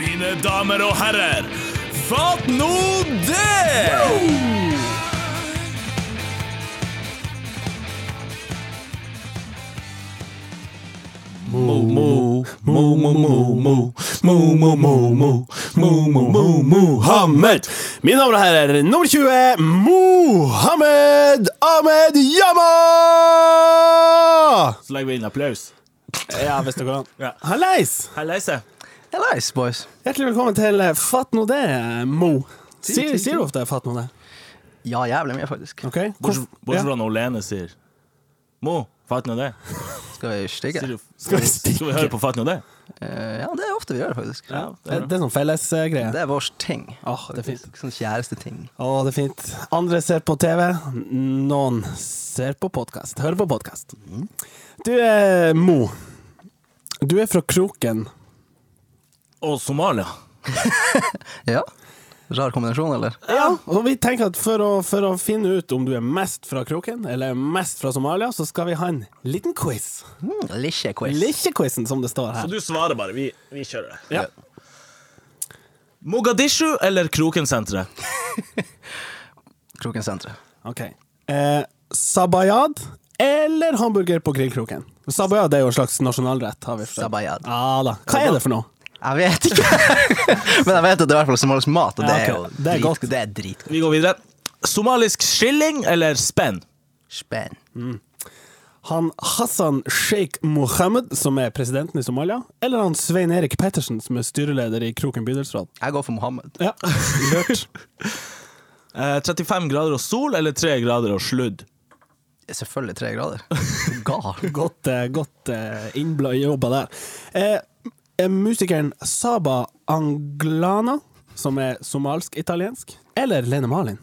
mine damer og herrer. Fatt nå det! Mohammed. Mine damer og herrer, nummer 20, Mohammed Ahmed Yama! Så legger vi inn applaus. Ja, hvis dere kan. Ja. Hallais! Hallais, jeg. Hallais, boys. Hjertelig velkommen til eh, Fatt nå det, Mo. Sier, ti, ti. sier du ofte 'fatt nå det'? Ja, jævlig mye, faktisk. Ok? Bortsett Hvorf- bortsett ja. fra når Lene sier Mo, fatt nå det. Skal vi stikke? Sier du- Skal Skal vi vi, stikke? skal vi høre på Fatt nå det? Eh, ja, det er ofte vi gjør det, faktisk. Ja, det Det, er bra. det er sånn fellesgreie. Det er vår ting. Åh, det er fint. Sånn kjæresteting. Å, det er fint. Andre ser på TV, noen ser på podkast. Hører på podkast. Du er Mo. Du er fra Kroken. Og Somalia. Ja. Rar kombinasjon, eller? Ja, og vi tenker at for å, for å finne ut om du er mest fra Kroken, eller mest fra Somalia, så skal vi ha en liten quiz. Mm, Lisje quiz. Likkjequizen, som det står her. du svarer bare. Vi, kjører det. Ja. Mogadishu eller Krokensenteret? Krokensenteret. Ok. Eh, sabayad eller hamburger på grillkroken? Sabayad er jo en slags nasjonalrett. Har vi forstått. Sabayad. Ja da. Hva er det for noe? Jeg vet ikke. Men jeg vet at det er i hvert fall somalisk mat, og det Ja, er ok. jo Det er godt. Det er dritgodt. Vi går videre. Somalisk shilling eller spenn? Spenn. Han Hassan Sheikh Mohammed, som er presidenten i Somalia, eller han Svein Erik Pettersen, som er styreleder i Kroken bydelsråd? Jeg går for Mohammed. Ja, lurt. Eh, 35 grader og sol eller 3 grader og sludd? Selvfølgelig tre grader. Gal. Godt, eh, godt eh, innbla jobba der. Eh, eh, musikeren Saba Anglana, som er somalsk-italiensk, eller Lene Malin?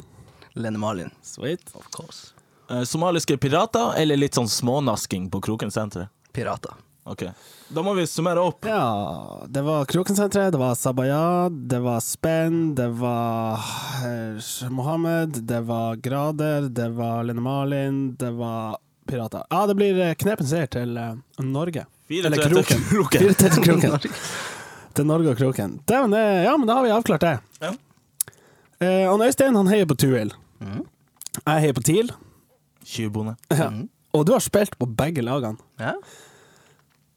Lene Malin. Sweet. Of course. Eh, somaliske pirater eller litt sånn smånasking på Krokensenteret? Pirater. Ok, Da må vi summere opp. Ja, det var Krokensenteret, det var Sabayad, det var Spenn, det var eh, Mohammed, det var Grader, det var Lene Malin, det var Pirater. Ja, det blir eh, knepen seier til eh, Norge. 4-3 Eller til Kroken. Kroken. 4-3 til Kroken. Til Norge og Kroken. Dæven, det, ja, men da har vi avklart det. Ja. Eh, han Øystein han heier på Tuil. Jeg heier på TIL. Tjuvbonde. Ja. Og du har spilt på begge lagene. Ja.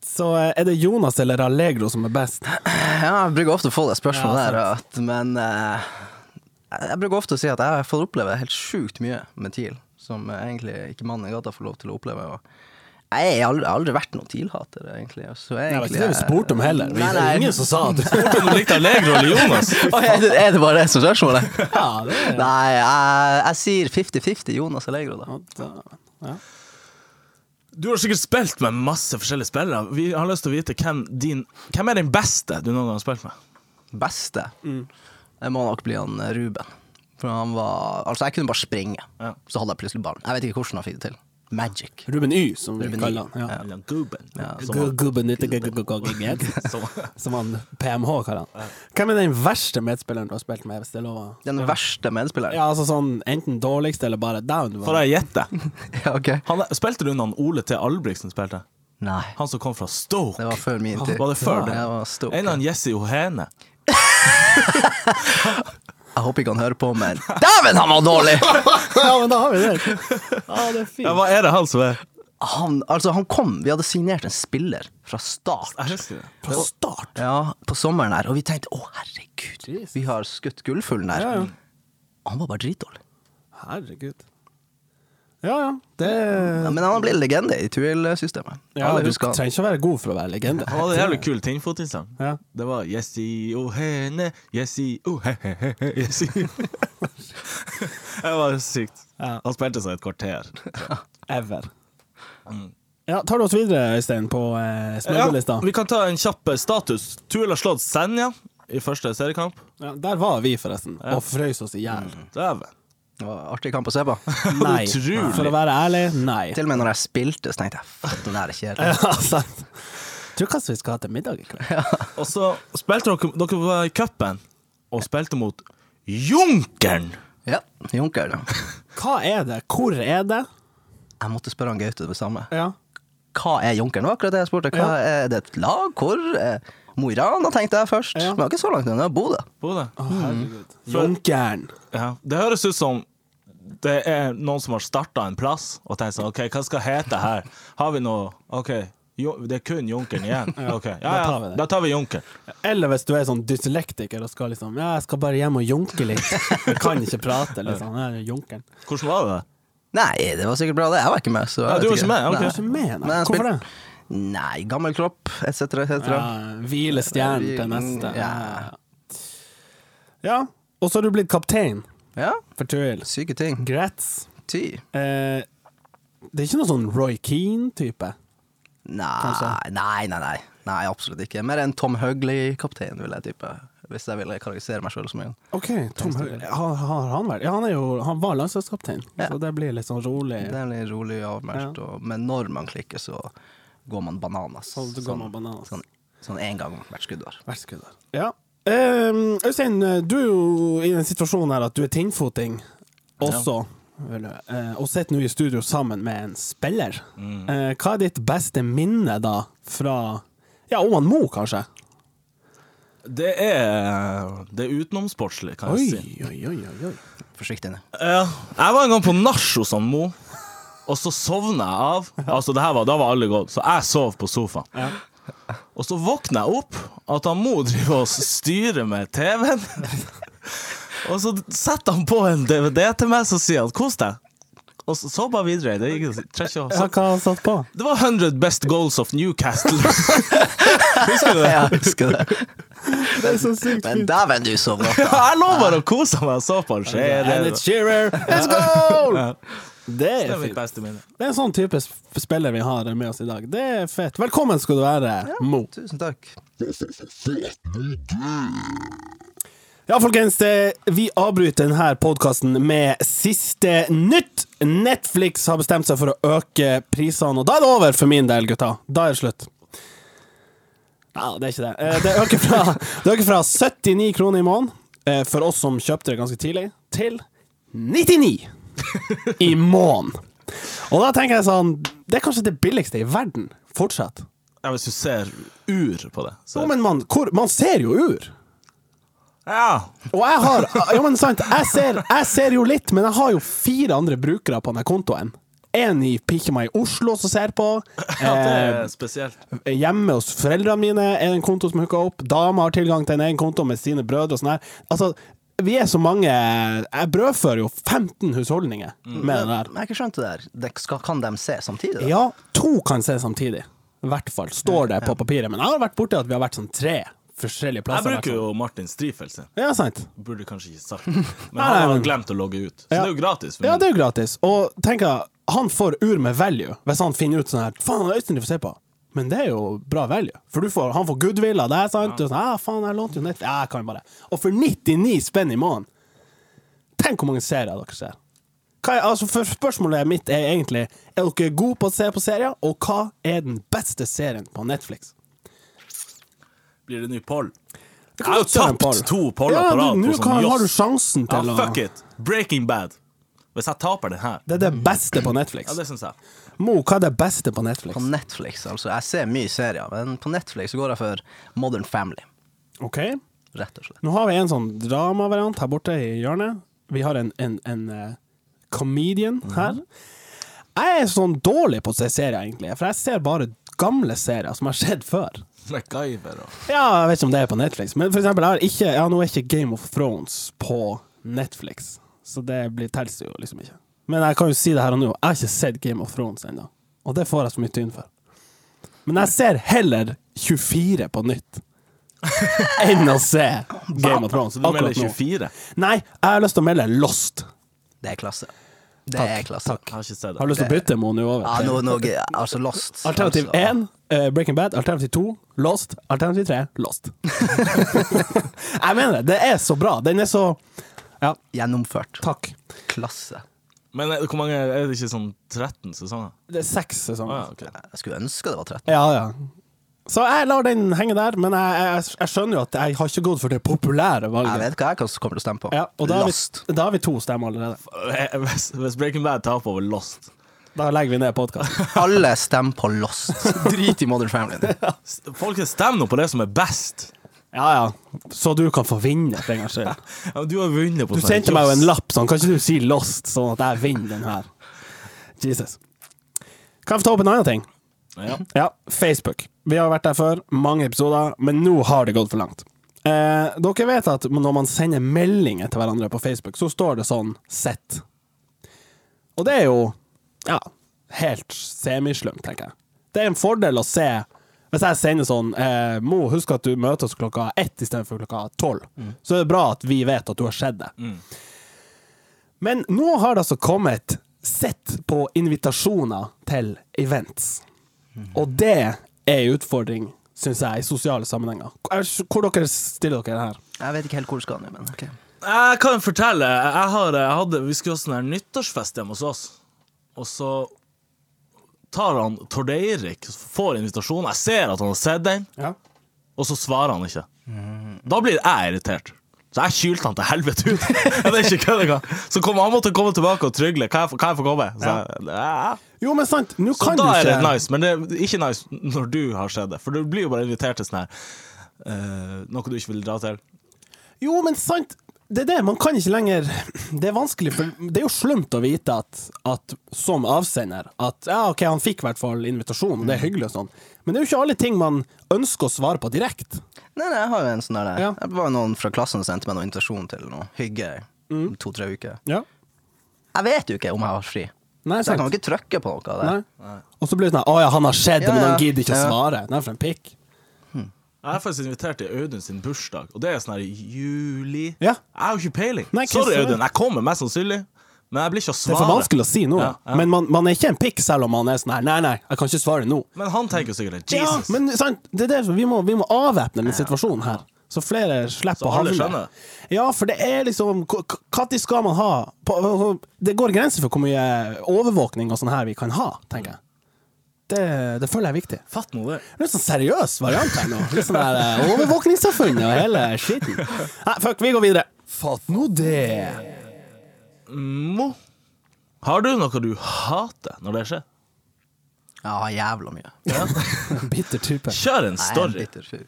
Så eh, er det Jonas eller Allegro som er best? ja, jeg bruker ofte å få det spørsmålet Ja, der, at, men eh, jeg bruker ofte å si at jeg har fått oppleve helt sjukt mye med TIL, som eh, egentlig ikke mannen i gata får lov til å oppleve. Og jeg har aldri, jeg har aldri vært noen TIL-hater, egentlig. og Så er Det var egentlig ikke det vi spurte om heller. Nei, nei. Ingen som sa at du Spurte om du likte Allegro eller Jonas. Oi, er, det, er det bare det som er spørsmålet? Ja, det er Nei, jeg, jeg sier 50-50 Jonas Allegro, da. ja. Du har sikkert spilt med masse forskjellige spillere. Vi har lyst til å vite hvem, din, hvem er den beste du noen gang har spilt med. Beste Mm. Det må nok bli han eh, Ruben. For han var Altså, jeg kunne bare springe, Ja. så hadde jeg plutselig ballen. Jeg vet ikke hvordan han fikk det til. Magic. Ruben Y, som vi Ruben Y, kaller han. Ja. Eller Guben. Ja, som Gu- han- Gubben ute, gu- gu- gu- gu- gu- gu- som- Som han PMH kaller han. Hvem er den verste medspilleren du har spilt med, hvis det er lov å Den verste medspilleren? Ja, altså sånn enten dårligst eller bare down. du var. Får jeg gjette? Ja, ok. Han, spilte du når Ole T. Albrigtsen spilte? Nei. Han som kom fra Stoke? Det var før min tid. Var det før det? Jeg, var stor. En av Jesse Johene. jeg håper ikke han hører på, men Dæven, han var dårlig! ja, men da har vi det. Ja, det er fint. Ja, hva er det han som er? Han, altså, han kom. Vi hadde signert en spiller fra start. Jeg husker det. Fra start. Ja, på sommeren her, og vi tenkte å, herregud, Jesus. vi har skutt gullfuglen her. Ja, ja. Han var bare dritdårlig. Herregud. Ja, ja. Det Ja, men han ble legende i Tuil-systemet. ja, Alle Du husker han. trenger ikke å være god for å være legende. Han hadde en jævlig kul tinnfotinsang. Ja. Det var Jesse Johene, Jesse Johene Jesse Det var sykt. Ja. Han spilte seg et kvarter. Ever. Mm. Ja, tar du oss videre, Øystein, på eh, smørbrødlista? vi kan ta en kjapp eh, status. Tuel har slått Senja i første seriekamp. Ja, der var vi, forresten, og frøys oss i hjel. Dæven. Det var artig kamp å se på. Nei. Utrolig. For å være ærlig, nei. Til og med når jeg spilte, så tenkte jeg faen, det der er kjedelig. Ja, sant. Tror kanskje vi skal ha til middag i kveld. Og så spilte dere Dere var i cupen og spilte mot Junkeren! Ja, Junker. da. Hva er det? Hvor er det? Jeg måtte spørre han Gaute det samme. Ja. hva er Junkeren? Det var akkurat det jeg spurte. Hva er det et lag? Hvor? eh, Mo i Rana tenkte jeg først, Ja. men det var ikke så langt unna. Bodø. Bodø. Å, herregud. Hmm. Junkeren. Ja. Det høres ut som det er noen som har starta en plass og tenkt sånn OK, hva skal hete her? Har vi noe OK, jo, det er kun Junkeren igjen. OK, ja, da tar ja, vi det. da tar vi Junkeren. Eller hvis du er sånn dyslektiker og skal liksom Ja, jeg skal bare hjem og junke litt. Jeg kan ikke prate, liksom. Jeg er junkeren. Hvordan var det? Nei, det var sikkert bra, det. Jeg var ikke med. Så jeg Ja, du vet var ikke med? Du Ok. er ikke med, Nei, nei. jeg Hvorfor det? spil- Nei, gammel kropp, etc., etc. Ja, hvile stjernen til neste. Ja. Ja. Og så har du blitt kaptein Ja. for Tuil. Syke ting. Grats. Ty. Eh, det er ikke noe sånn Roy Keane-type. Nei, nei, nei, nei. Nei, absolutt ikke. Mer en Tom Høgli-kaptein, vil jeg tippe. Hvis jeg ville karakterisere meg sjøl som en. OK, Tom Høgli. Har, har han vært Ja, han, er jo, han var landslagskaptein, Ja. så det blir litt sånn rolig. Det er litt rolig avmælt, og, men når man klikker, så går man bananas. Så du går man bananas. Sånn, sånn en gang hvert skuddår. Vær så god. Ja. Ehm, Øystein, du er jo i den situasjonen her at du er tinnfoting også. vil jeg, eh, Og sitter nå i studio sammen med en spiller. Eh, Hva er ditt beste minne da fra Ja, Oman Mo, kanskje? Det er, eh, det er utenomsportslig, kan jeg si. Oi, oi, oi, oi, oi. Forsiktig nå. Ja, jeg var en gang på nach hos han Mo, og så sovna jeg av. Altså, det her var, Da var alle gått, så jeg sov på sofaen. Og så våkner jeg opp at han Mo driver og styrer med TV-en. Og så setter han på en DVD til meg, så sier han 'kos deg'. Og så, så bare videre. Det gikk det trenger ikke å- Ja, så- hva har han satt på? Det var 100 best goals of Newcastle. Husker du det? Ja, jeg husker det. Det er så sykt Men dæven, du sov godt. Ja, jeg lå bare og kosa meg og så på han skje. And it's Shearer, Ja. let's go! Det Det er er mitt fint. beste minne. Det er en sånn type sp- spiller vi har med oss i dag. Det er fett. Velkommen skal du være, Mo. Tusen takk. Ja, folkens, eh, vi avbryter denne podkasten med siste nytt. Netflix har bestemt seg for å øke prisene, og da er det over for min del, gutta. Da er det slutt. Ja, det er ikke det. Eh, Det øker fra, det øker fra 79 kroner i måneden, eh, for oss som kjøpte det ganske tidlig, til 99 i måneden. Og da tenker jeg sånn Det er kanskje det billigste i verden. Fortsett. Ja, hvis du ser ur på det. Så. Jo, men man, hvor, man ser jo ur. Ja. Og jeg har Jo, men sant. Jeg ser, jeg ser jo litt, men jeg har jo fire andre brukere på denne kontoen. En i pikkja meg i Oslo som ser på. ja, det Eh, er spesielt. hjemme hos foreldrene mine er det en konto som hooka opp. Dama har tilgang til en egen konto med sine brødre og sånn her. Altså, vi er så mange Jeg brødfører jo 15 husholdninger Mm. med den der. Men jeg har ikke skjønt det der. Det skal, kan de se samtidig? da? Ja, to kan se samtidig. I hvert fall står det på papiret. Men jeg har vært borti at vi har vært sånn tre forskjellige Jeg plasser. bruker jo Martin Strifeldt sin. Ja, sant. Burde kanskje ikke sagt det. Men nei, han har men- glemt å logge ut. Så det er jo gratis. For Ja, meg. det er jo gratis. Og tenk at han får ur med value hvis han finner ut sånn her Faen, Øystein, du får se på. Men det er jo bra value, for du får, han får goodwill av deg, sant? Du er sånn, ja, faen, jeg lånte jo nett Ja, jeg kan jo bare Og for 99 spenn i måneden Tenk hvor mange serier dere ser. Hva er, altså, for spørsmålet mitt er egentlig Er dere gode på å se på serier, og hva er den beste serien på Netflix? Blir det ny poll? Det Jeg har jo godt være en tapt poll. to poller på rad Ja, du- på nå sånn kan- har du Joss. sjansen Ja, til å fuck it! Breaking Bad. Hvis jeg taper den her Det er det beste på Netflix. Ja, det syns jeg. Mo, hva er det beste på Netflix? På Netflix, altså. Jeg ser mye serier, men på Netflix så går jeg for Modern Family, Ok rett og slett. Nå har vi en sånn dramavariant her borte i hjørnet. Vi har en, en, en eh, comedian her. Jeg er sånn dårlig på å se serier, egentlig. For jeg ser bare gamle serier som har skjedd før. MacGyver og Ja, jeg vet ikke om det er på Netflix, men for eksempel, jeg har ikke, ja, nå er ikke Game of Thrones på Netflix. Så det blir tels jo liksom ikke. Men jeg kan jo si det her og nå, jeg har ikke sett Game of Thrones ennå. Og det får jeg så mye tynn for. Men jeg ser heller 24 på nytt enn å se Game of Thrones Så du melder akkurat nå. 24? Nei, jeg har lyst til å melde Lost. Det er klasse. Det Takk, er klasse. Jeg har ikke sett Jeg har det. lyst til å bytte Mo nå Ja, over. nå, nå, altså Lost. Alternativ Altså, 1, eh, Breaking Bad. Alternativ 2, Lost. Alternativ 3, Lost. jeg mener det. Det er så bra. Den er så Ja, Gjennomført. takk. Klasse. Men er det, hvor mange er det ikke sånn 13 sesonger? Det er seks Å ja, sesonger. ok. Jeg skulle ønske det var 13. Ja, ja. Så jeg lar den henge der, men jeg, jeg, jeg skjønner jo at jeg har ikke gått for det populære Jeg valget. vet hva jeg kan- kommer til å stemme på. Ja, og da har, Lost. Eh, vi, da har vi to stemmer allerede. Hvis, hvis Breaking Bad taper over Lost, Da legger vi ned podkasten. Alle stemmer på Lost. Drit i Modern Family. nå. Folkens, stem nå på det som er best. Ja ja, så du kan få vinne for en gangs skyld. Ja, men du har vunnet på Du sånn sendte meg jo joss. en lapp sånn, kan ikke du si Lost, sånn at jeg vinner den her? Jesus. Kan jeg få ta opp en annen ting? Ja. Ja, Facebook. Vi har vært der før, mange episoder, men nå har det gått for langt. Eh, dere vet at når man sender meldinger til hverandre på Facebook, så står det sånn 'sett'. Og det er jo ja, helt semislumt, tenker jeg. Det er en fordel å se Hvis jeg sender sånn eh, 'Mo, husk at du møter oss klokka ett istedenfor klokka tolv', Mm. så er det bra at vi vet at du har sett det. Men nå har det altså kommet 'sett' på invitasjoner til events. Og det er en utfordring, syns jeg, i sosiale sammenhenger. Jeg- Hvor dere stiller dere her? Jeg vet ikke helt hvor det skal nå, men ok. Jeg kan fortelle. Jeg har, jeg hadde, vi skulle ha sånn her nyttårsfest hjemme hos oss. Og så tar han Tord Eirik, får invitasjon. Jeg ser at han har sett den, Ja. og så svarer han ikke. Mm. Da blir jeg irritert. Så jeg kylte han til helvete ut. Jeg vet ikke hva det kan. Så kom, han måtte komme tilbake og trygle. Kan jeg, få- kan jeg få komme? Så, jeg, ja. Jo, men sant, nå så kan da du er det ikke nice, men det er ikke nice når du har sett det. For du blir jo bare invitert til sånn her eh, Noe du ikke vil dra til. Jo, men sant, det er det. Man kan ikke lenger Det er vanskelig, for det er jo slumt å vite at, at som avsender at ja, OK, han fikk i hvert fall invitasjon, og det er hyggelig og sånn, men det er jo ikke alle ting man ønsker å svare på direkte. Nei, nei, jeg har jo en sånn der. Ja. Det var jo noen fra klassen som sendte meg noen invitasjon til noe hygge i Mm. to-tre uker. Ja. Jeg vet jo ikke om jeg har fri. Nei, Så sant. jeg kan jo ikke trykke på noe av det. Nei. Og så blir det sånn Å ja, han har sett det, Ja, men han ja. gidder ikke å Ja. svare. Nei, for en pikk. Jeg er faktisk invitert til Audun sin bursdag, og det er sånn her i juli. Ja. Jeg har jo ikke peiling. Nei, hva Sorry, sa du? Audun. Jeg kommer mest sannsynlig, men jeg blir ikke å Det svare. er for vanskelig å si nå. Ja, ja. Men man, man er ikke en pikk selv om man er sånn her. Nei, nei, jeg kan ikke svare nå. Men han tenker jo sikkert det. Ja, Jesus. men sant, det er det, vi, må, vi må avvæpne den situasjonen her. Så flere Så slipper å alle havne. skjønner. Ja, for det er liksom Når skal man ha på- altså, Det går grenser for hvor mye overvåkning og sånn her vi kan ha, tenker jeg. Det, det føler jeg er viktig. Fatt nå det. Litt sånn seriøs variant her nå. Litt sånn der eh, overvåkningssamfunn og hele skiten. Nei, fuck, vi går videre. Fatt nå det. Mo, har du noe du hater når det skjer? Ja, jævla mye. Bitter type. Kjør en Jeg er en story. bitter fyr.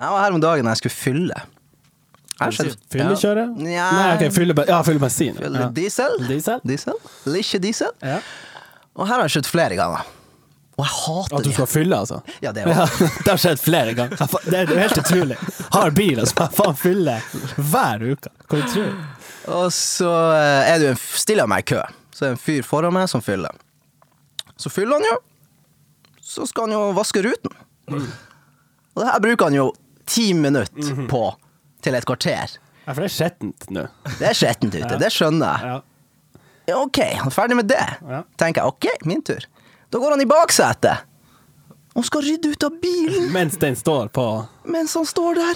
Jeg var her om dagen da jeg skulle fylle. Jeg skjønner- Fyllekjøre? Ja. Nei, ok, fylle, be- ja, fylle bensin. Fylle Ja. diesel. Diesel? Diesel. Ikke diesel. Ja. Og her har jeg skjøtt flere ganger. Og jeg hater At du de skal her. fylle, altså? Ja, det er jo- ja, det har skjedd flere ganger. Jeg fa- Det er jo helt utrolig. Har bil, altså. Jeg faen fyller hver uke. Hva du tror du? Og så eh, er det jo en, f- stiller jeg meg i kø. Så er det en fyr foran meg som fyller. Så fyller han jo. Så skal han jo vaske ruten. Og det her bruker han jo ti Mhm. minutter på til et kvarter. Ja, for det er skjettent nå. Det er skjettent ute, det skjønner jeg. Ja. Ja, OK, han er ferdig med det. Ja. Tenker jeg, OK, min tur. Da går han i baksetet. Han skal rydde ut av bilen Mens den står på mens han står der.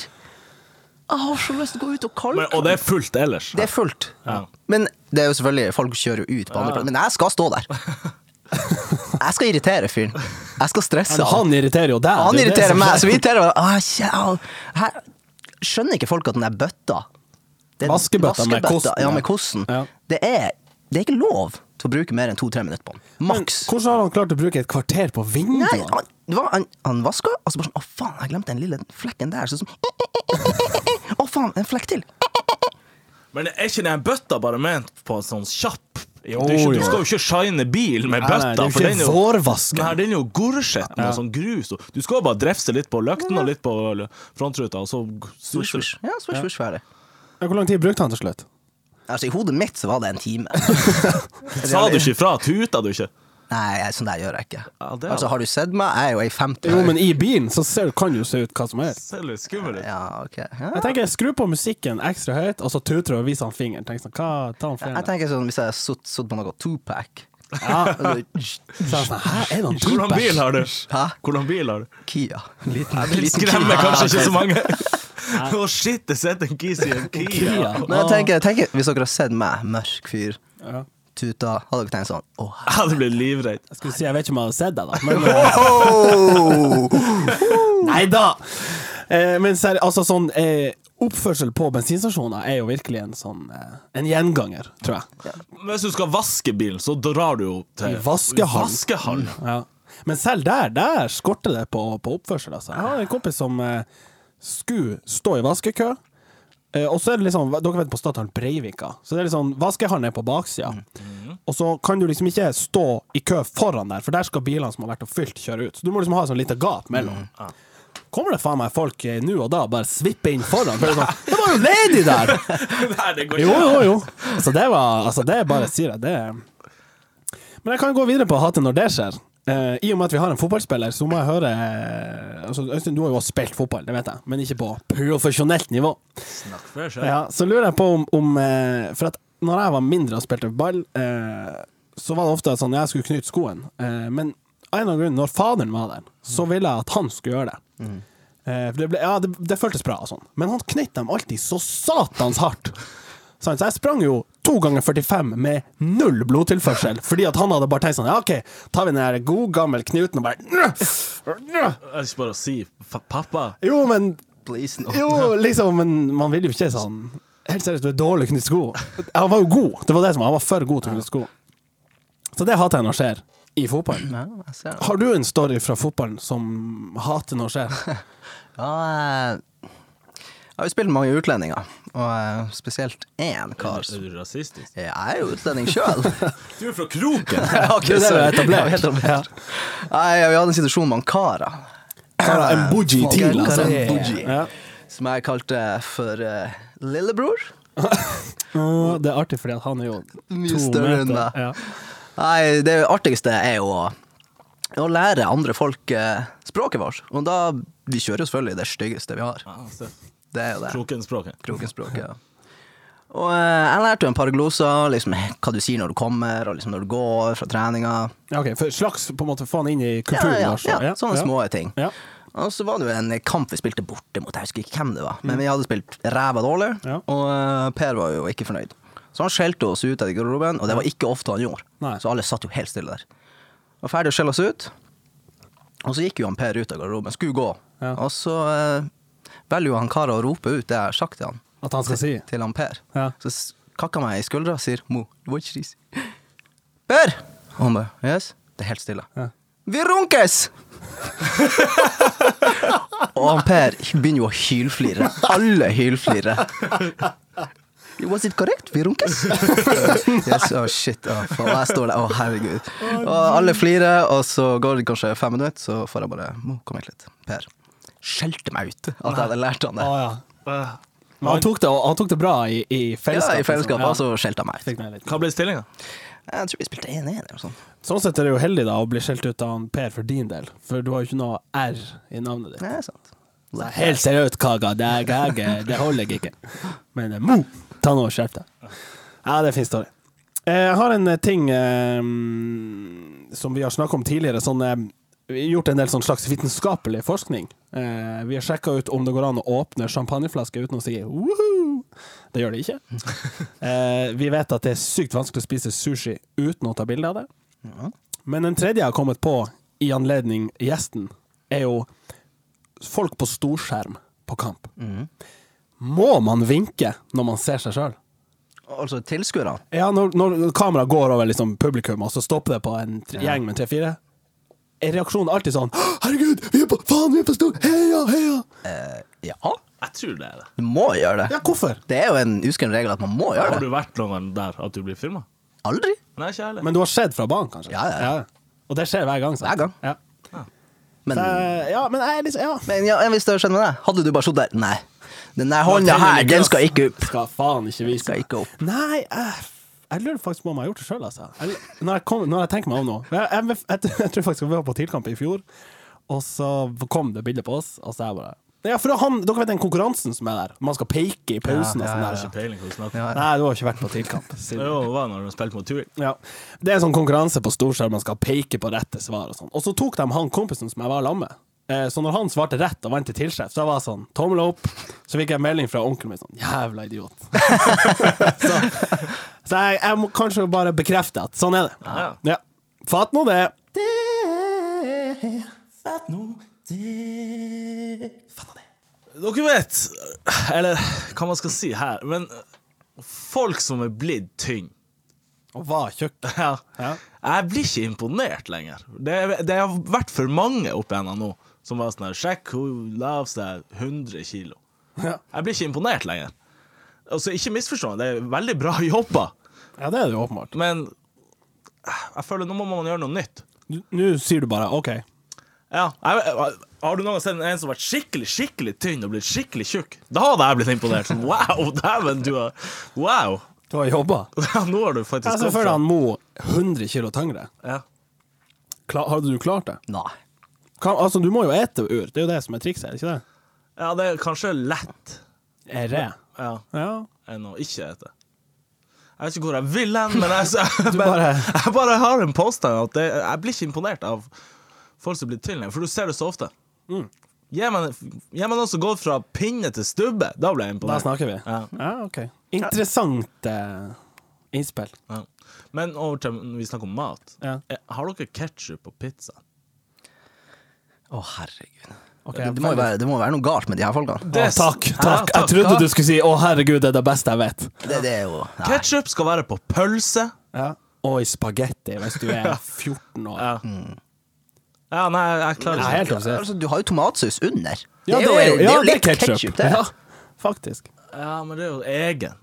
Jeg har så lyst til å gå ut og kalle Men, og det er fullt ellers. Det er fullt. Ja. Men det er jo selvfølgelig, folk kjører jo ut på andre plass. Men jeg skal stå der. Jeg skal irritere fyren. Jeg skal stresse Men han irriterer jo deg. Han det er det irriterer som- meg, så vi irriterer hverandre. Åh, kjæ- Her skjønner ikke folk at den der bøtta den Vaskebøtta med vaskebøtta, kosten, Ja, ja. med kosten. Ja. Det, er, det er ikke lov til å bruke mer enn to-tre minutter på den. Maks. Men Hvordan har han klart å bruke et kvarter på Nei, vinduene? han, det var, han, han vaska, og så bare sånn Å, faen, jeg glemte den lille flekken der. Så sånn Å, faen, en flekk til. Men er ikke den bøtta bare ment på en sånn kjapp Jo, du, er ikke, jo. du skal jo ikke shine bil med Nei, nei, det er bøtta, jo for den er ikke jo vårvasken. Den her, den er jo gorskitten og sånn grus. og- Du skal jo bare drefse litt på løkten og litt på l- frontruta, og så Swish, swish. Ja, swish, swish, ferdig. Ja, Hvor lang tid brukte han til slutt? Altså, I hodet mitt så var det en time. Sa du ikke ifra? Tuta du ikke? Nei, jeg- sånn der gjør jeg ikke. Ja, det er- altså, Har du sett meg? Jeg er jo ei 50. Jo, men i bilen så ser, kan du jo se ut hva som helst. Ser litt skummel ut. Ja, ok. Ja. Jeg tenker, Skru på musikken ekstra høyt, og så tuter du og viser han fingeren. Tenk sånn, hva tar han Jeg fingeren? tenker sånn, Hvis jeg sutt, sutt på noe tupac Ja. Altså, Så jeg sånn, Hæ, er det han Hvordan tuper? bil har du? Hæ? Hvordan bil har du? Kia. Liten, Den skremmer kanskje ikke så mange. Å shit, det sitter en kis i en Kia. Kia. Men jeg tenker, jeg tenker, Hvis dere har sett meg, mørk fyr, Ja. tuta, hadde dere tenkt sånn Åh, Jeg hadde blitt livredd. Jeg skulle si, jeg vet ikke om jeg hadde sett deg, da. Men, Nei da! Eh, men seri altså sånn eh, oppførsel på bensinstasjoner er jo virkelig en sånn eh, En gjenganger, tror jeg. Men Hvis du skal vaske bilen, så drar du jo til I vaskehallen. vaskehallen. Ja. Men selv der, der skorter det på, på oppførsel, altså. Jeg har en kompis som eh, skulle stå i vaskekø. Eh, og så er det liksom Dere vet på Statoil Breivika. Så det er liksom Vaskehallen er på baksida. Og så kan du liksom ikke stå i kø foran der, for der skal bilene som har vært og fylt, kjøre ut. Så du må liksom ha et sånn lite gap mellom. Kommer det faen meg folk eh, nå og da bare svipper inn foran? For det, er sånn, det var jo ledig der! Nei, det går Jo, ikke. jo, jo. Så det var Altså, det bare sier jeg, det Men jeg kan gå videre på hatet når det skjer. Eh, I og med at vi har en fotballspiller, så må jeg høre eh, altså, Øystein, du har jo også spilt fotball, det vet jeg, men ikke på profesjonelt nivå. Snakk for deg selv. Ja, så lurer jeg på om, om eh, For at når jeg var mindre og spilte ball, eh, så var det ofte sånn jeg skulle knyte skoen, eh, men av en eller annen grunn, når faderen var der, så ville jeg at han skulle gjøre det. Eh, for det, ble, ja, det, det føltes bra og sånn, men han knøt dem alltid så satans hardt. Sant? Så jeg sprang jo to ganger 45 med null blodtilførsel, fordi at han hadde bare tenkt sånn Ja, OK, tar vi den der god, gammel knuten og bare Jeg er ikke bare å si fa- pappa. Jo, men Please, no. jo, liksom, men man vil jo ikke sånn Helt seriøst, du er dårlig knytt sko. Han var jo god, det var det som var. Han var for god til å knytte sko. Så det hater jeg når skjer i fotballen. Ja, jeg ser det. Har du en story fra fotballen som hater når skjer? Ja, jeg- jeg har jo spilt med mange utlendinger, og eh, spesielt én kar. som- Er du rasistisk? Jeg er jo utlending sjøl. Du er fra Kroken! Det er det vi har etablert. Nei, vi hadde en situasjon med han Kara. Kara en boogie Kara til, altså. en boogie. Ja. Som jeg kalte for eh, lillebror. Og det er artig, fordi at han er jo Mye to større enn meter. deg. Ja. Nei, det artigste er jo å, å lære andre folk eh, språket vårt. Og da Vi kjører jo selvfølgelig det styggeste vi har. Ja, se. Det er jo det. Krokenspråket. Krokenspråket. Ja. Og eh, jeg lærte jo en par gloser, liksom hva du sier når du kommer, og liksom når du går fra treninga. Ja, ok, for slags på en måte få han inn i Ja, kulturen. ja, altså. ja, sånne små ting. Ja. Og så var det jo en kamp vi spilte borte mot, jeg husker ikke hvem det var, men vi hadde spilt ræva dårlig, Mm. Ja. og eh, Per var jo ikke fornøyd. Så han skjelte oss ut av garderoben, og det var ikke ofte han gjorde. Nei. Så alle satt jo helt stille der. Var ferdig å skjelle oss ut, og så gikk jo han Per ut av garderoben, skulle gå. Ja. Og så eh, velger jo han Kara å rope ut det jeg har sagt til han, At han skal si. til han Per. Ja. Så s- kakka meg i skuldra og sier Mo, du må ikke ris. Per! Og han bare Yes? Det er helt stille. Ja. Vi runkes! og han Per begynner jo å hylflire. Alle hylflirer. Was it correct? Vi runkes? yes, oh shit. Å, faen, jeg står der. Å, herregud. Og alle flirer, og så går det kanskje fem minutter, så får jeg bare Mo, kom hit litt. Per skjelte meg ut at jeg hadde lært han det. Å, ja. Men han tok det, han tok det bra i, i Ja, fellesskap. I altså. fellesskap, og liksom. så skjelte han meg ut. Fikk med litt. Hva ble stillinga? Jeg tror vi spilte 1-1 eller noe sånt. Sånn sett er det jo heldig da å bli skjelt ut av han Per for din del, for du har jo ikke noe R i navnet ditt. Nei, det er sant. Så helt seriøst, Kaga, det, er- jeg er- det holder jeg ikke. Men eh, Mo, ta nå og skjerp deg. Ja, det er en fin story. Eh, Jeg har en eh, ting eh, som vi har snakket om tidligere, sånn eh, vi har gjort en del sånn slags vitenskapelig forskning. Eh, vi har sjekka ut om det går an å åpne champagneflasker uten å si «Woohoo!» Det gjør det ikke. Eh, vi vet at det er sykt vanskelig å spise sushi uten å ta bilde av det. Men den tredje jeg har kommet på i anledning gjesten, er jo folk på storskjerm på kamp. Må man vinke når man ser seg sjøl? Altså tilskuerne. Ja, når, når kameraet går over liksom, publikum, og så stopper det på en tre- gjeng med tre-fire, er reaksjonen alltid sånn «Hå, 'Herregud, vi er på faen, vi er på stor Heia, heia!' Eh, Ja, Jeg tror det er det. du må gjøre det. Ja, hvorfor? Det er jo en uskreven regel at man må gjøre Har det. du vært noen gang der at du blir filma? Aldri. Nei, ikke heller. Men du har sett fra banen, kanskje? Ja, ja, ja. Og det skjer hver gang. sant? Hver gang. Ja. Men, Så, ja, men jeg er liksom Ja. men ja, hvis det skjedde med deg, hadde du bare sittet der Nei, den der hånda her, den skal ikke opp. Skal faen ikke vise Skal ikke opp. Nei, jeg, jeg lurer faktisk på om jeg har gjort det sjøl, altså. Jeg, når, jeg kom, når jeg tenker meg om nå jeg, jeg, jeg, jeg tror faktisk vi var på TIL-kamp i fjor, og så kom det bilde på oss, og så jeg bare ja, for da han, Dere vet den konkurransen som er der? Man skal peke i pausen Ja, Jeg og har sånn. ikke peiling på hva du snakker om. der Nei, du har ikke vært på TIL-kamp. siden- Jo, hva når du spilte mot Tuil? ja. Det er en sånn konkurranse på storskjerm, man skal peke på rette svar og sånn. Og så tok de han kompisen som jeg var sammen med. Eh, Så når han svarte rett og vant til tilsjef, så jeg var sånn tommel opp. Så fikk jeg melding fra onkelen min sånn jævla idiot. så så jeg, jeg må kanskje bare bekrefte at sånn er det. Ja. Ja. Fatt nå det. Dere vet, eller hva man skal si her, men folk som er blitt tynne Og var tjukk. ja. Ja. Jeg blir ikke imponert lenger. Det, det har vært for mange opp igjennom nå som var sånn her Sjekk hun la av seg 100 kilo. Ja. Jeg blir ikke imponert lenger. Altså, ikke misforstå meg, det er veldig bra jobba, ja, det er det jo åpenbart. men jeg føler nå må man gjøre noe nytt. Du- Nå sier du bare OK. Ja, jeg, Har du noen gang sett en som har vært skikkelig skikkelig tynn og blitt skikkelig tjukk? Da hadde jeg blitt imponert. Sånn, wow, dæven, du har Wow! Du har jobba. Nå har du faktisk Jeg ser gått for deg fra- han Mo 100 kilo tyngre. Ja. Kla- Hadde du klart det? Nei. Kan, altså, du må jo ete ur. Det er jo det som er trikset, er det ikke det? ja, det er kanskje lett Ere. ja, Ja. enn å ikke ete. Jeg vet ikke hvor jeg vil hen, men jeg, jeg, bare, bare- jeg bare har en påstand at det, jeg blir ikke imponert av folk som blir tynne, for du ser det så ofte. Mm. Gi meg gi meg noen som går fra pinne til stubbe. Da blir jeg Da imponert. snakker vi. Ja. OK. Interessant eh, innspill. Ja. Men over til når vi snakker om mat. Ja. Eh, Har dere ketsjup på pizza? Å, herregud. Ok, det, det, må jo være, det må være noe galt med de her folkene. Å, takk, takk. Jeg trodde du skulle si 'Å, herregud, det er det beste jeg vet'. Det, det er jo nei. Ketsjup skal være på pølse. Og i spagetti, hvis du er 14 år. Ja, Mm. ja nei, jeg klarer Jeg er ikke. helt obsessed. Altså, du har jo tomatsaus under. Ja, det, er jo, det er jo litt ketchup. ketsjup, det. Ja, faktisk. Ja, men det er jo egen.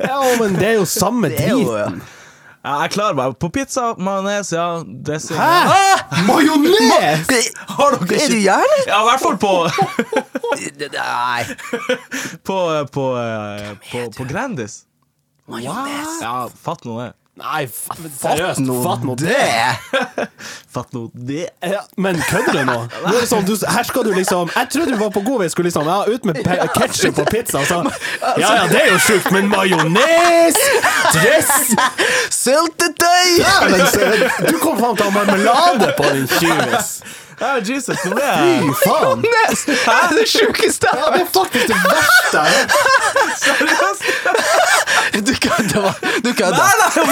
Ja, men det er jo samme Det er jo drit. Ja, jeg klarer meg på pizza, majones, ja, dressing ja. Ah! Hæ? Majones?! Har dere Er du ikke gæren? Ja, i hvert fall på Nei. På, på, eh, på, på Grandis. Majones. Ja, fatt nå det. Nei, fa- seriøst. Fatt nå det. det! Fatt nå det. Ja, men kødder du nå? nå er det sånn, du, her skal du liksom Jeg trodde du var på god vei, skulle liksom ja, ut med ketsjup på pizza. Og så, Altså. ja ja, det er jo sjukt, men majones, dress Syltetøy! Dæven, søren! Du kom faen til å ha marmelade på din tjuvis! Ja, Jesus, nå ble Fy jeg faen! Majones! Det er det sjukeste jeg Ja, det er faktisk det verste jeg har hørt. Du kødder. Du kødder.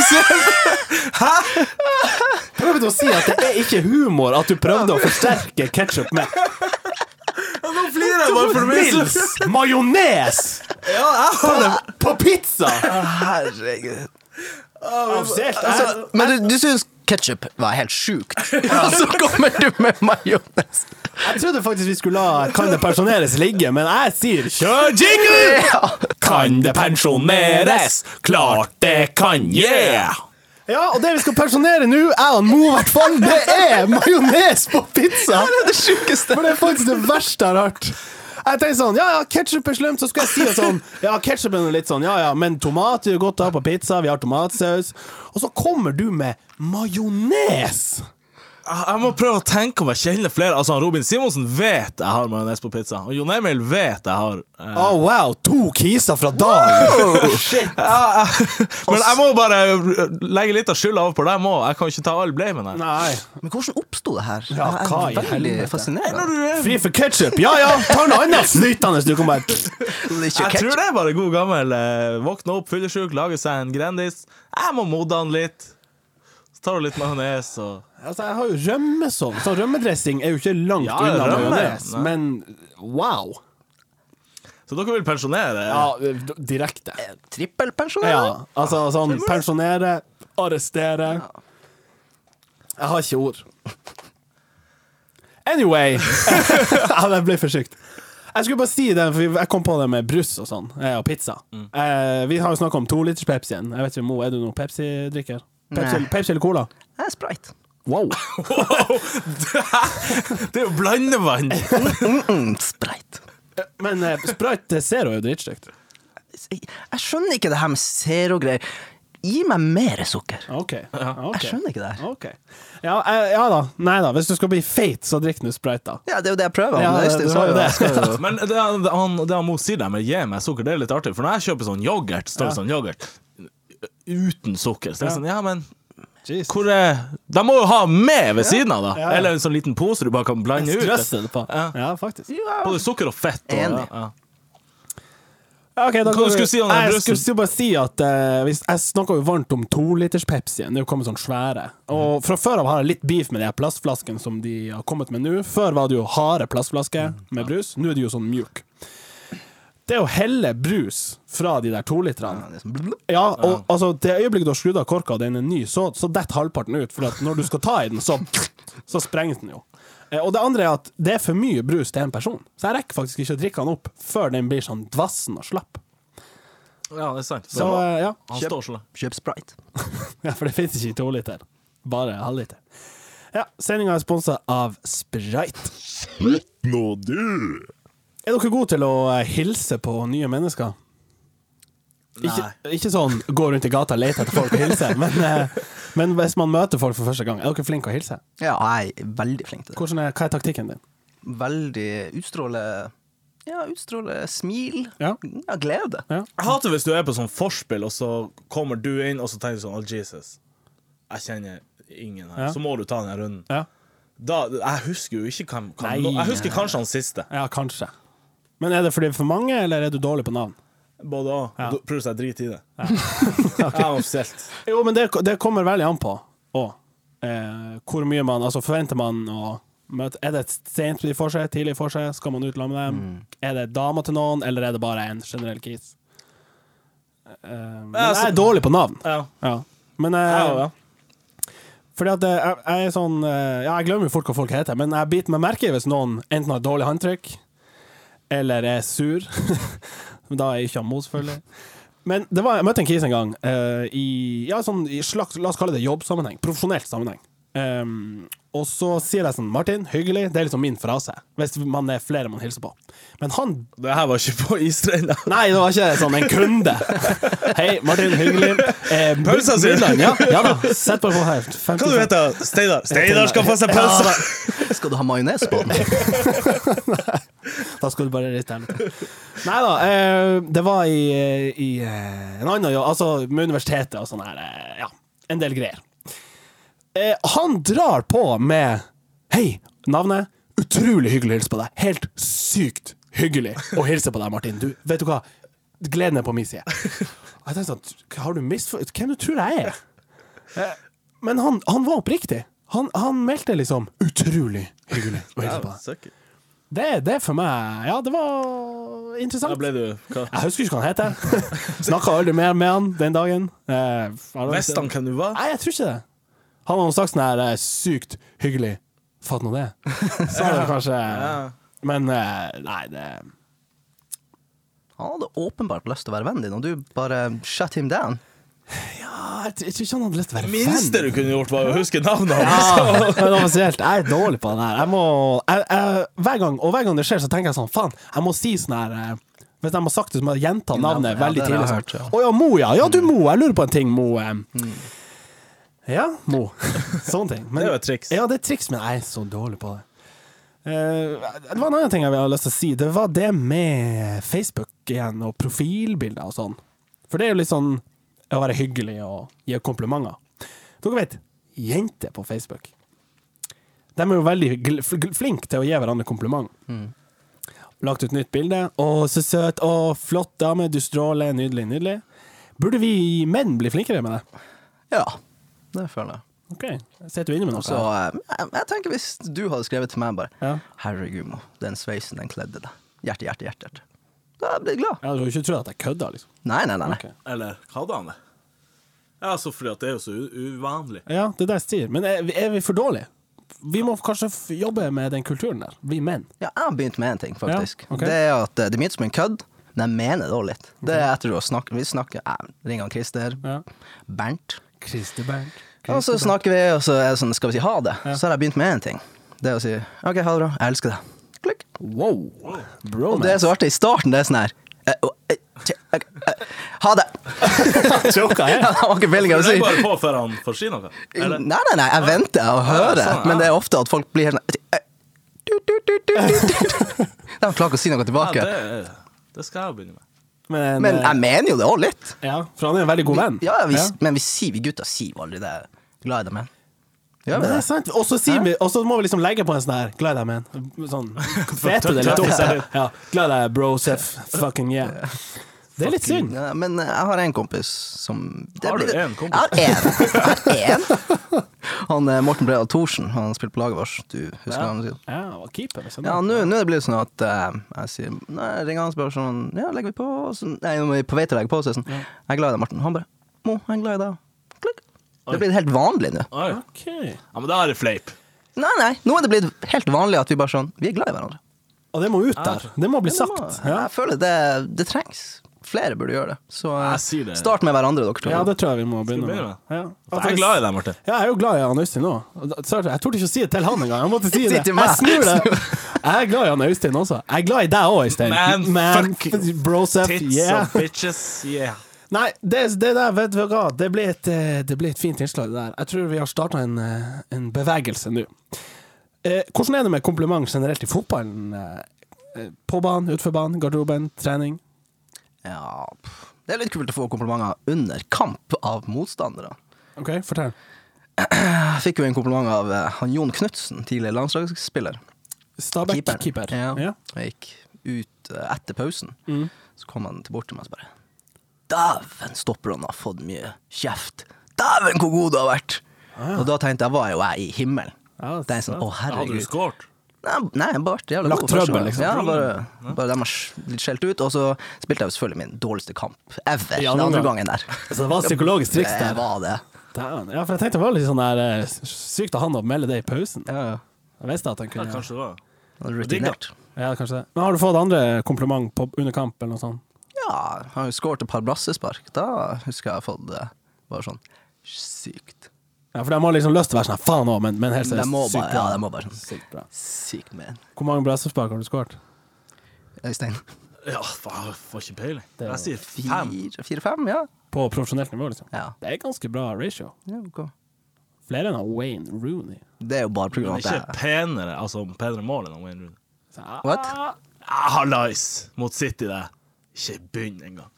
Prøvde å si at det er ikke humor at du prøvde å forsterke ketsjup med Nå flirer jeg bare for det Pils! Majones! Ja, jeg har det. På pizza! Herregud. Avansert. Altså, men du, du syns ketsjup var helt sjukt, og så kommer du med majones. Jeg trodde faktisk vi skulle la Kan det pensjoneres ligge, men jeg sier kjør jingle! Ja. Kan det pensjoneres? Klart det kan, yeah! Ja, og det vi skal pensjonere nå, jeg og Mo i hvert fall, det er majones på pizza! Det er det sjukeste. For det er faktisk det verste jeg har hørt. Jeg tenker sånn, ja ja, ketsjup er slemt, så skal jeg si det sånn. Ja, ketsjup er noe litt sånn, ja ja, men tomat er jo godt å ha på pizza, vi har tomatsaus. Og så kommer du med majones! Jeg må prøve å tenke om jeg kjenner flere. Altså, han Robin Simonsen vet jeg har majones på pizza. Og Jon Emil vet jeg har eh, Å wow, to kiser fra dagen! ja, jeg- Men jeg må bare legge litt av skylda over på dem òg. Jeg kan ikke ta all blamen her. Nei. Men hvordan oppsto det her? Ja, Jeg er hva i veldig helvete? fascinerende. Fri for ketsjup! Ja ja, ta noe annet flytende! Du kan bare Det er ikke Jeg tror ketchup. det er bare god gammel eh, våkne opp, fyllesyk, lage seg en Grandis. Jeg må modne den litt. Så tar du litt majones og Altså, jeg har jo rømmesovn, så rømmedressing er jo ikke langt Ja, unna rømme. majones, Nei. men wow! Så dere vil pensjonere? Ja, d- direkte. Eh, Trippelpensjonering? Ja, altså sånn pensjonere, arrestere Jeg har ikke ord. Anyway Ja, det ble for sykt. Jeg skulle bare si det, for jeg kom på det med brus og sånn, eh, og pizza. Mm. Eh, vi har jo snakka om toliters Pepsien. Jeg vet ikke, Mo, er du noen Pepsi-drikker? Pepsi, Nei. Pepsi eller Cola? Det er sprite. Wow. Det er jo blandevann! Mm, sprite. Men eh, Sprite Zero er jo dritstygt. Jeg skjønner ikke det her med zero-greier. Gi meg mer sukker. Ah, Ok. ok. Jeg skjønner ikke det her. Ok. Ja, eh, ja da. Nei da. Hvis du skal bli feit, så drikk nå Sprite, da. Ja, det er jo det jeg prøver. Ja, men det- Øystein det sa var jo jo det. jeg skal jo- Men det han, det han det han Mo sier der med 'gi meg sukker', det er litt artig. For når jeg kjøper sånn yoghurt, står det sånn yoghurt uten sukker. Så det er sånn, ja, men Jeez. hvor er De må jo ha med ved siden av, da! Eller en sånn liten pose du bare kan blande ut. Strøssel på. Ja. Ja, faktisk. Både sukker og fett. Og, Enig. ja, ja. Ok, da Hva går du skulle si om den jeg brusen? skulle si- bare si at eh, hvis, Jeg snakka jo varmt om toliters Pepsi. Det er jo kommet sånn svære. Og fra før av har jeg litt beef med de her plastflaskene som de har kommet med nå. Før var det jo harde plastflasker Mm. med brus. Nå er det jo sånn mjuk. Det å helle brus fra de der toliterne Ja, det er sånn blub, blub. ja, og altså, det øyeblikket du har skrudd av korka og den er ny, så, så detter halvparten ut. For at når du skal ta i den, så, så sprenges den jo. Eh, Og det andre er at det er for mye brus til én person. Så jeg rekker faktisk ikke å drikke den opp før den blir sånn dvassen og slapp. Ja, det er sant. Så eh, ja. han Kjøp. står så lenge. Kjøp sprite. ja for det fins ikke i toliter. Bare halvliter. Ja, sendinga er sponsa av Sprite. Nå du! Er dere gode til å eh, hilse på nye mennesker? Ikke, ikke sånn gå rundt i gata og lete etter folk og hilse, men, eh, men hvis man møter folk for første gang, er dere flinke å hilse? Ja, jeg er veldig flink til det. Hvordan er, hva er taktikken din? Veldig utstråle Ja, utstråle smil. Ja. ja glede. Ja. Jeg hater hvis du er på sånn forspill, og så kommer du inn, og så tenker du sånn oh, Jesus, jeg kjenner ingen her. Ja. Så må du ta den runden. Ja. Da, jeg husker jo ikke hvem, hvem Nei. Jeg husker kanskje han siste. ja, kanskje. Men er det fordi det er for mange, eller er du dårlig på navn? Både og. Ja. Ja. Pluss jeg driter i det. Jeg er offisielt. Jo, men det, det kommer veldig an på òg. Eh, hvor mye man Altså, forventer man å møte Er det et sent for seg, tidlig for seg? Skal man ut sammen med dem? Er det dama til noen, eller er det bare en generell kis? Eh, men Ja, jeg så- er dårlig på navn. Ja. Ja. Men eh, Jeg, ja. Fordi at eh, jeg, jeg er sånn eh, Ja, jeg glemmer jo fort hva folk heter, men jeg biter meg merke i hvis noen enten har dårlig håndtrykk, eller er sur. Men da er jeg ikke han mot, selvfølgelig. Men det var, jeg møtte en kis en gang, eh, i, ja, sånn, i slags, la oss kalle det jobbsammenheng. Profesjonelt sammenheng. Ehm, og så sier jeg sånn Martin, hyggelig. Det er liksom min frase. Hvis man er flere man hilser på. Men han Det her var ikke på isstrenda. Nei, det var ikke sånn en kunde. Hei, Martin, hyggelig. Eh, Pølsa si. Midland, Ja, ja da. Sett bare på her. Hva du heter du? Steinar? Steinar skal få seg Ja, pølse! Skal du ha majones på den? Da skal du bare riste den. Nei da, eh, det var i, i eh, en annen jobb, altså med universitetet og sånn her, eh, ja, en del greier. Eh, han drar på med Hei, navnet. Utrolig hyggelig å hilse på deg. Helt sykt hyggelig å hilse på deg, Martin. Du, vet du hva? Gleden er på min side. Og Jeg tenkte sånn, har du misfor... Hvem du tror jeg er? Eh, Men han, han var oppriktig. Han, han meldte liksom 'utrolig hyggelig' å hilse på deg. Søkker. Det, det for meg Ja, det var Da interessant. ble du hva? Jeg husker ikke hva han heter. Snakka aldri mer med han den dagen. Eh, har du- Visste han hvem du var? Nei, jeg tror ikke det. Han har noe sagt sånn her eh, sykt hyggelig. Fatt nå det. Så er det kanskje Men eh, nei, det Han hadde åpenbart lyst til å være vennen din, og du bare shut him down. ah, Jeg tror jeg tror ikke han hadde lyst til å være Det minste du kunne gjort, var å huske navnet hans. Ah. Ja, men offisielt, jeg er dårlig på den her. Jeg må, jeg, jeg, hver gang, og hver gang det skjer, så tenker jeg sånn Faen, jeg må si sånn her eh, Hvis de har sagt det, så må jeg gjenta navnet Navnet, ja, veldig det har tidlig. jeg Sånn. hørt, ja. Mm. Å ja, Mo, ja. Ja, du Mo. Jeg lurer på en ting, Mo. eh. Ja, Mo. Sånne ting. Men- Det er jo et triks. Ja, det er et triks, men jeg er så dårlig på det. Eh, det var en annen ting jeg hadde lyst til å si. Det var det med Facebook igjen, og profilbilder og sånn. For det er jo litt sånn å være hyggelig og gi komplimenter. Dere vet, jenter på Facebook De er jo veldig gl- fl- flinke til å gi hverandre kompliment. Mm. Lagt ut nytt bilde. 'Å, så søt. Å, flott dame. Du stråler. Nydelig, nydelig.' Burde vi menn bli flinkere med det? Ja, det føler jeg. OK, sitter du inne med noe? Så eh, jeg, jeg tenker hvis du hadde skrevet til meg bare Ja. Herregud, Mo, den sveisen den kledde deg. Hjerte, hjerte, hjerte. hjerte. Da blir jeg glad. Jeg hadde jo ikke trodd at jeg kødda, liksom. Nei, nei, nei. nei. Ok. Eller hadde han det? Ja, så fordi at det er jo så u uvanlig. Ja, det er det jeg sier. Men er, vi- er vi for dårlige? Vi må kanskje f- jobbe med den kulturen der, vi menn. Ja, jeg har begynt med en ting, faktisk. Ja, ok. Det er at eh, det er mye som en kødd, men jeg mener det også litt. Det er etter å snakke Vi snakker eh, Ringer han Christer. Ja. Bernt. Kristi Bernt. Og så snakker vi, og så er det sånn, skal vi si ha det? Så har jeg begynt med en ting. Det er å si OK, ha det bra. Jeg elsker deg. Klikk. Wow! Og det er Bromance. så artig. I starten det er sånn her eh, å, eh, tje, eh, eh, Ha det! Choka jeg. Jeg har ikke peiling på å si. Legg bare på før han får si noe. Nei, Eller? nei, nei, jeg venter og Ja, hører, sånn, ja. men det er ofte at folk blir helt sånn eh, du, du, du, du, du, du. De klarer ikke å si noe Ja, tilbake. det, det skal jeg begynne med. Men, Men eh, jeg mener jo det òg litt. ja, for han er en veldig god venn. Ja, vi, Men vi, sier, vi gutter sier jo aldri det. Glad i deg, men. Gjør Men vi det er det? sant. Og så sier vi- og så må vi liksom legge på en sånn her Glad i deg, man. Sånn. Vet du det litt tøff- dumt? tøff- Ja. Glad i deg, bro, Sef. Fucking yeah. Det er litt synd. Ja, men jeg har en kompis som det Har du blir- en kompis? Jeg har en. Jeg har en. Han eh, Morten Bredal Thorsen, han spilte på laget vårt. Du husker Ja. han? sikkert. Ja, og keeper. Liksom. Ja, nå nå er det blitt sånn at eh, jeg sier Nei, jeg ringer han og spør sånn Ja, legger vi på? Og så- nei, nå er vi på vei til å legge på. Så er jeg sånn, jeg er glad i deg, Morten. Han bare Mo, jeg er glad i deg. Klikk. Det er blitt helt vanlig nå. Oi. OK. Ja, men da er det fleip. Nei, nei, nå er det blitt helt vanlig at vi bare sånn Vi er glad i hverandre. Og det må ut der. Det må bli sagt. Det må- Ja. Jeg føler det, det trengs. Flere burde gjøre det. Så eh, Jeg sier det. start med hverandre, dere to. ja, det tror jeg vi må begynne med. begynne Ja. Jeg er glad i deg, Martin. Ja, jeg er jo glad i han Øystein òg. Jeg torde ikke å si det til han engang. Jeg måtte si Si det. til meg. Jeg snur det. Jeg er glad i han Øystein også. Jeg er glad i deg òg, Øystein. Man, fuck f- brosef, Tits altså. yeah. og bitches, yeah. Nei, det, det der, vet du hva, det blir et, eh, det blir et fint innslag, det der. Jeg tror vi har starta en, eh, en bevegelse nå. Eh, hvordan er det med kompliment generelt i fotballen? Eh, eh, På banen, utenfor banen, garderoben, trening? Ja, pff. det er litt kult å få komplimenter under kamp av motstandere. OK, fortell. Jeg fikk jo en kompliment av eh, han Jon Knutsen, tidligere landslagsspiller. Stabæk keeper. Ja. Ja. Mm. Jeg gikk ut eh, etter pausen, så kom han til bort til meg og så bare Dæven, stopperne har fått mye kjeft! Dæven, hvor god du har vært! Og da tenkte jeg, var jo jeg i himmelen. Ah, Ja, det er sånn, å Hadde du herregud. skåret? Nei, nei, jeg bare vært jævla Lagt god første trøbbel, gang. liksom. Ja, bare, bare de har sk- litt skjelt ut. Og så spilte jeg jo selvfølgelig min dårligste kamp ever I den andre andre omgang. gangen der. Så Altså, det var et psykologisk triks der. Det var det. Dæven. Ja, for jeg tenkte det var litt sånn der eh, sykt av han å melde det i pausen. Ja, ja. Jeg visste at han Ja, kunne ja, kanskje det var. Rutinert. kanskje det. Men har du fått andre kompliment på, under kamp eller noe sånt? Ja, han har jo skåret et par brassespark. Da husker jeg jeg har fått det bare sånn sykt. Ja, for de har liksom lyst til å være sånn her, faen òg, men, men helt De seriøst, må sykt bare, bra. ja, de må bare sånn Sykt bra. sykt man. Hvor mange brassespark har du skåret? Øystein. Ja, faen, jeg får ikke peiling. er Jeg sier fem. Fire-fem, ja. På profesjonelt nivå, liksom? Ja. Det er ganske bra ratio. ja ok. Flere enn han Wayne Rooney. Det er jo bare pga. Men at ikke jeg penere, altså penere mål enn Wayne Rooney. Så, ah, What? Ah, Hallais mot City, det. Ikke begynn engang.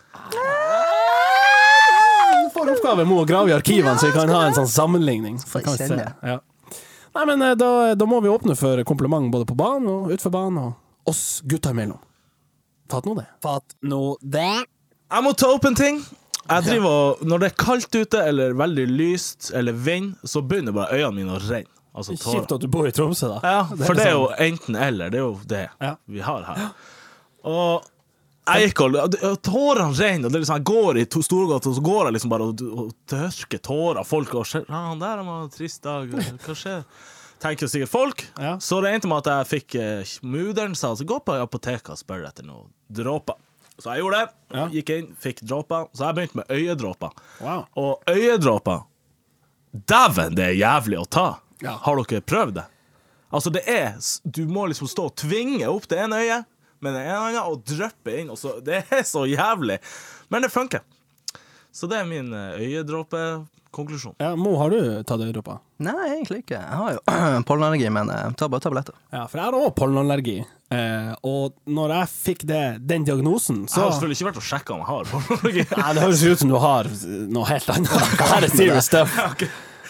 Du får oppgave med å grave i arkivene, så vi kan ha en sånn sammenligning. Så Får kan vi se. kjenne. Ja. Nei, men eh, da, da må vi åpne for kompliment både på banen og utenfor banen, og oss gutta imellom. Fatt nå det. Fatt nå det. Jeg må ta opp en ting. Jeg driver og, Når det er kaldt ute, eller veldig lyst, eller vind, så begynner bare øynene mine å renne. Altså Kjipt tårer. at du bor i Tromsø, da. Ja, er sånn. for det er jo enten-eller. Det er jo det Ja. vi har her. Og jeg gikk og og Tårene renner, og det er liksom, jeg går i to- Storgata, og så går jeg liksom bare og, og tørker tårer. Folk og ser ah, 'Han der han har en trist dag. Hva skjer?' Tenker jo sikkert folk. Ja. Så det endte med at jeg fikk eh, Muderen sa altså, 'gå på apoteket og spør etter noen dråper'. Så jeg gjorde det. Ja. Gikk inn, fikk dråper. Så jeg begynte med øyedråper. Wow. Og øyedråper Dæven, det er jævlig å ta! Ja. Har dere prøvd det? Altså, det er s- Du må liksom stå og tvinge opp det ene øyet med det ene øyet og dryppe inn. Og så, det er så jævlig! Men det funker. Så det er min eh, øyedråpekonklusjon. Ja, Mo, har du tatt Europa? Nei, egentlig ikke. Jeg har jo pollenallergi, men eh, tar bare tabletter. Ja, for jeg har òg pollenallergi. Eh, og når jeg fikk det, den diagnosen, Jeg så har selvfølgelig ikke vært og sjekka om jeg har pornografi. Nei, det høres ut som du har noe helt annet. Det her er serious stuff.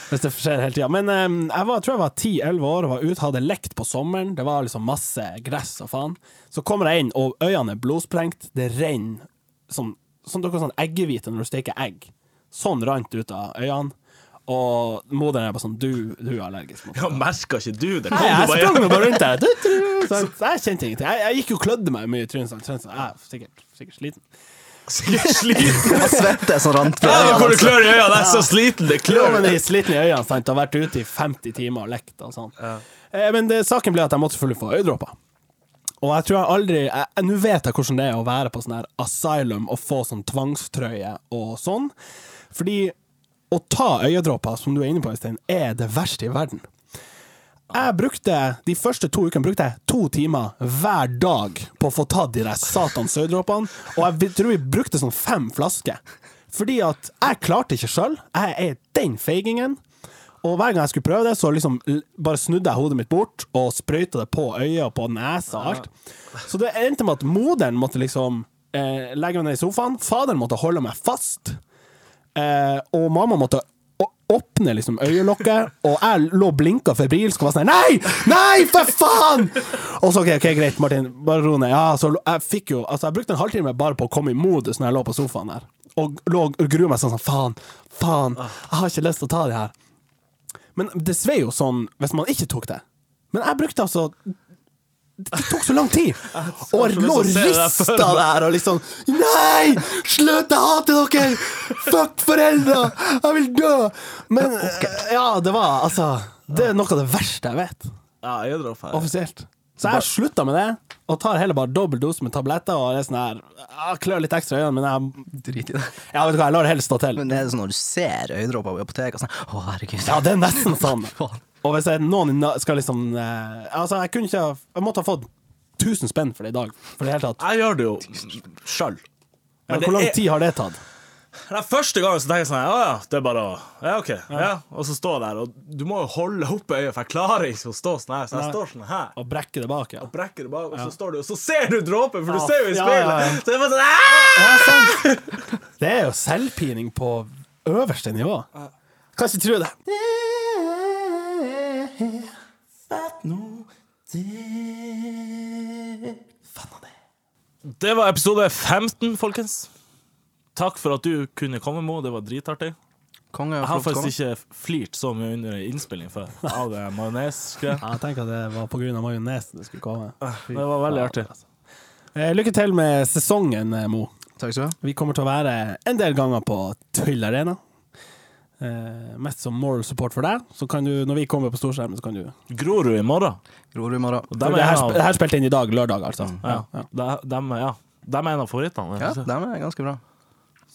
Hvis det skjer hele tida. Men eh, jeg var, tror jeg var 10-11 år og var ute, hadde lekt på sommeren. Det var liksom masse gress og faen. Så kommer jeg inn, og øynene er blodsprengt. Det renner som, som dere sånn eggehvite når du steker egg. Sånn rant ut av øynene. Og moderen er bare sånn Du, du er allergisk mot det. Ja, Merka ikke du det? Kom du Nei, jeg bare- sprang nå bare rundt der. Du, du, du, sånn. Så Jeg kjente ingenting. Jeg, jeg gikk jo og klødde meg mye i trynet. sånn. Sånn, så Jeg er sikkert, sikkert sliten. Sikkert sliten. Jeg svetter som rant fra Ja, men hvor du øynene. klør i øynene, jeg er så sliten, det Jo, klør. men jeg er sliten i øynene, sant. Har vært ute i 50 timer og lekt og sånn. Eh, men det, saken ble at jeg måtte selvfølgelig få øyedråper. Og jeg tror jeg aldri jeg- jeg- Nå vet jeg hvordan det er å være på sånn her asylum og få sånn tvangstrøye og sånn. Fordi å ta øyedråper, som du er inne på, Øystein, er det verste i verden. Jeg brukte, De første to ukene brukte jeg to timer hver dag på å få tatt de der satans øyedråpene, og jeg tror vi brukte sånn fem flasker. Fordi at jeg klarte ikke sjøl. Jeg er den feigingen. Og hver gang jeg skulle prøve det, så liksom l- bare snudde jeg hodet mitt bort og sprøyta det på øyet og på nesa og alt. Så det endte med at moderen måtte liksom eh, legge meg ned i sofaen, faderen måtte holde meg fast, eh, og mamma måtte å- åpner liksom øyelokket, og jeg lå og blinka febrilsk og var sånn Nei! Nei, for faen! Og så OK, ok, greit, Martin. Bare ro ned. Ja, så lo- jeg fikk jo Altså, jeg brukte en halvtime bare på å komme i modus når jeg lå på sofaen der, og lå og grua meg sånn sånn Faen, faen, jeg har ikke lyst til å ta det her. Men det svei jo sånn hvis man ikke tok det. Men jeg brukte altså Det tok så lang tid! Og jeg så lyst lå og til å se det der rista før. der og liksom Nei! Slutt! Jeg hater dere! Fuck foreldra! Jeg vil dø! Men eh, ja, det var altså Det er noe av det verste jeg vet. Ja, jeg drar ferdig. Offisielt. Så jeg slutta med det, og tar heller bare dobbel dose med tabletter. Og det er sånn her Jeg klør litt ekstra i øynene, men jeg, Drit i det. ja, vet du hva, jeg lar det helst stå til. Men det er sånn når du ser øyedråper på apoteket og sånn Å, herregud. Ja, det er nesten sånn. Faen. Og hvis jeg, noen i na- skal liksom eh, Altså, jeg kunne ikke ha- Jeg måtte ha fått 1000 spenn for det i dag. For det hele tatt. Jeg gjør det jo sjøl. Men hvor lang tid har det tatt? Den første gangen så tenker jeg sånn Ja, ja, det er bare å Ja, OK. Ja. Og så står jeg der, og du må jo holde opp øyet, for jeg klarer ikke å stå sånn her. Så jeg Nei. står sånn her. Å brekke det bak, ja. Og brekker det bak, og så står du, og så ser du dråpen, for du Ja, ser jo i ja, speilet. ja, ja. Så det er bare sånn «Ah!» Ja, sant. Det er jo selvpining på øverste nivå. Kan ikke tro det. Det var episode 15, folkens. Takk for at du kunne komme, Mo. Det var dritartig. Konge Jeg og har flott konge. faktisk ikke flirt så mye under innspilling før av det majonesgreiet. Ja, jeg tenker at det var på grunn av majonesen det skulle komme. Det var veldig artig. Eh, Lykke til med sesongen, eh, Mo. Takk skal du ha. Vi kommer til å være en del ganger på Tøyl Arena. Eh, mest som moral support for deg. Så kan du, når vi kommer på storskjermen, så kan du Grorud i morgen. Grorud i morgen. Dem det, er her, en sp- av- det her spilte inn i dag, lørdag, altså. Ja. De- dem er- ja. Dem er en av favorittene. Ja, dem er ganske bra.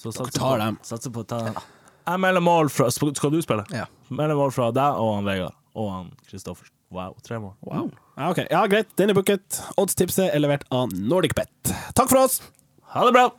Så satser på, tar dem. satser på å ta Jeg melder mål fra sp- Skal du spille? Ja. Melder mål fra deg og han Vegard og han Kristoffer. Wow, tre mål. Ja, ok. ja, greit. Den er booket. Oddstipset er levert av NordicBet. Takk for oss! Ha det bra!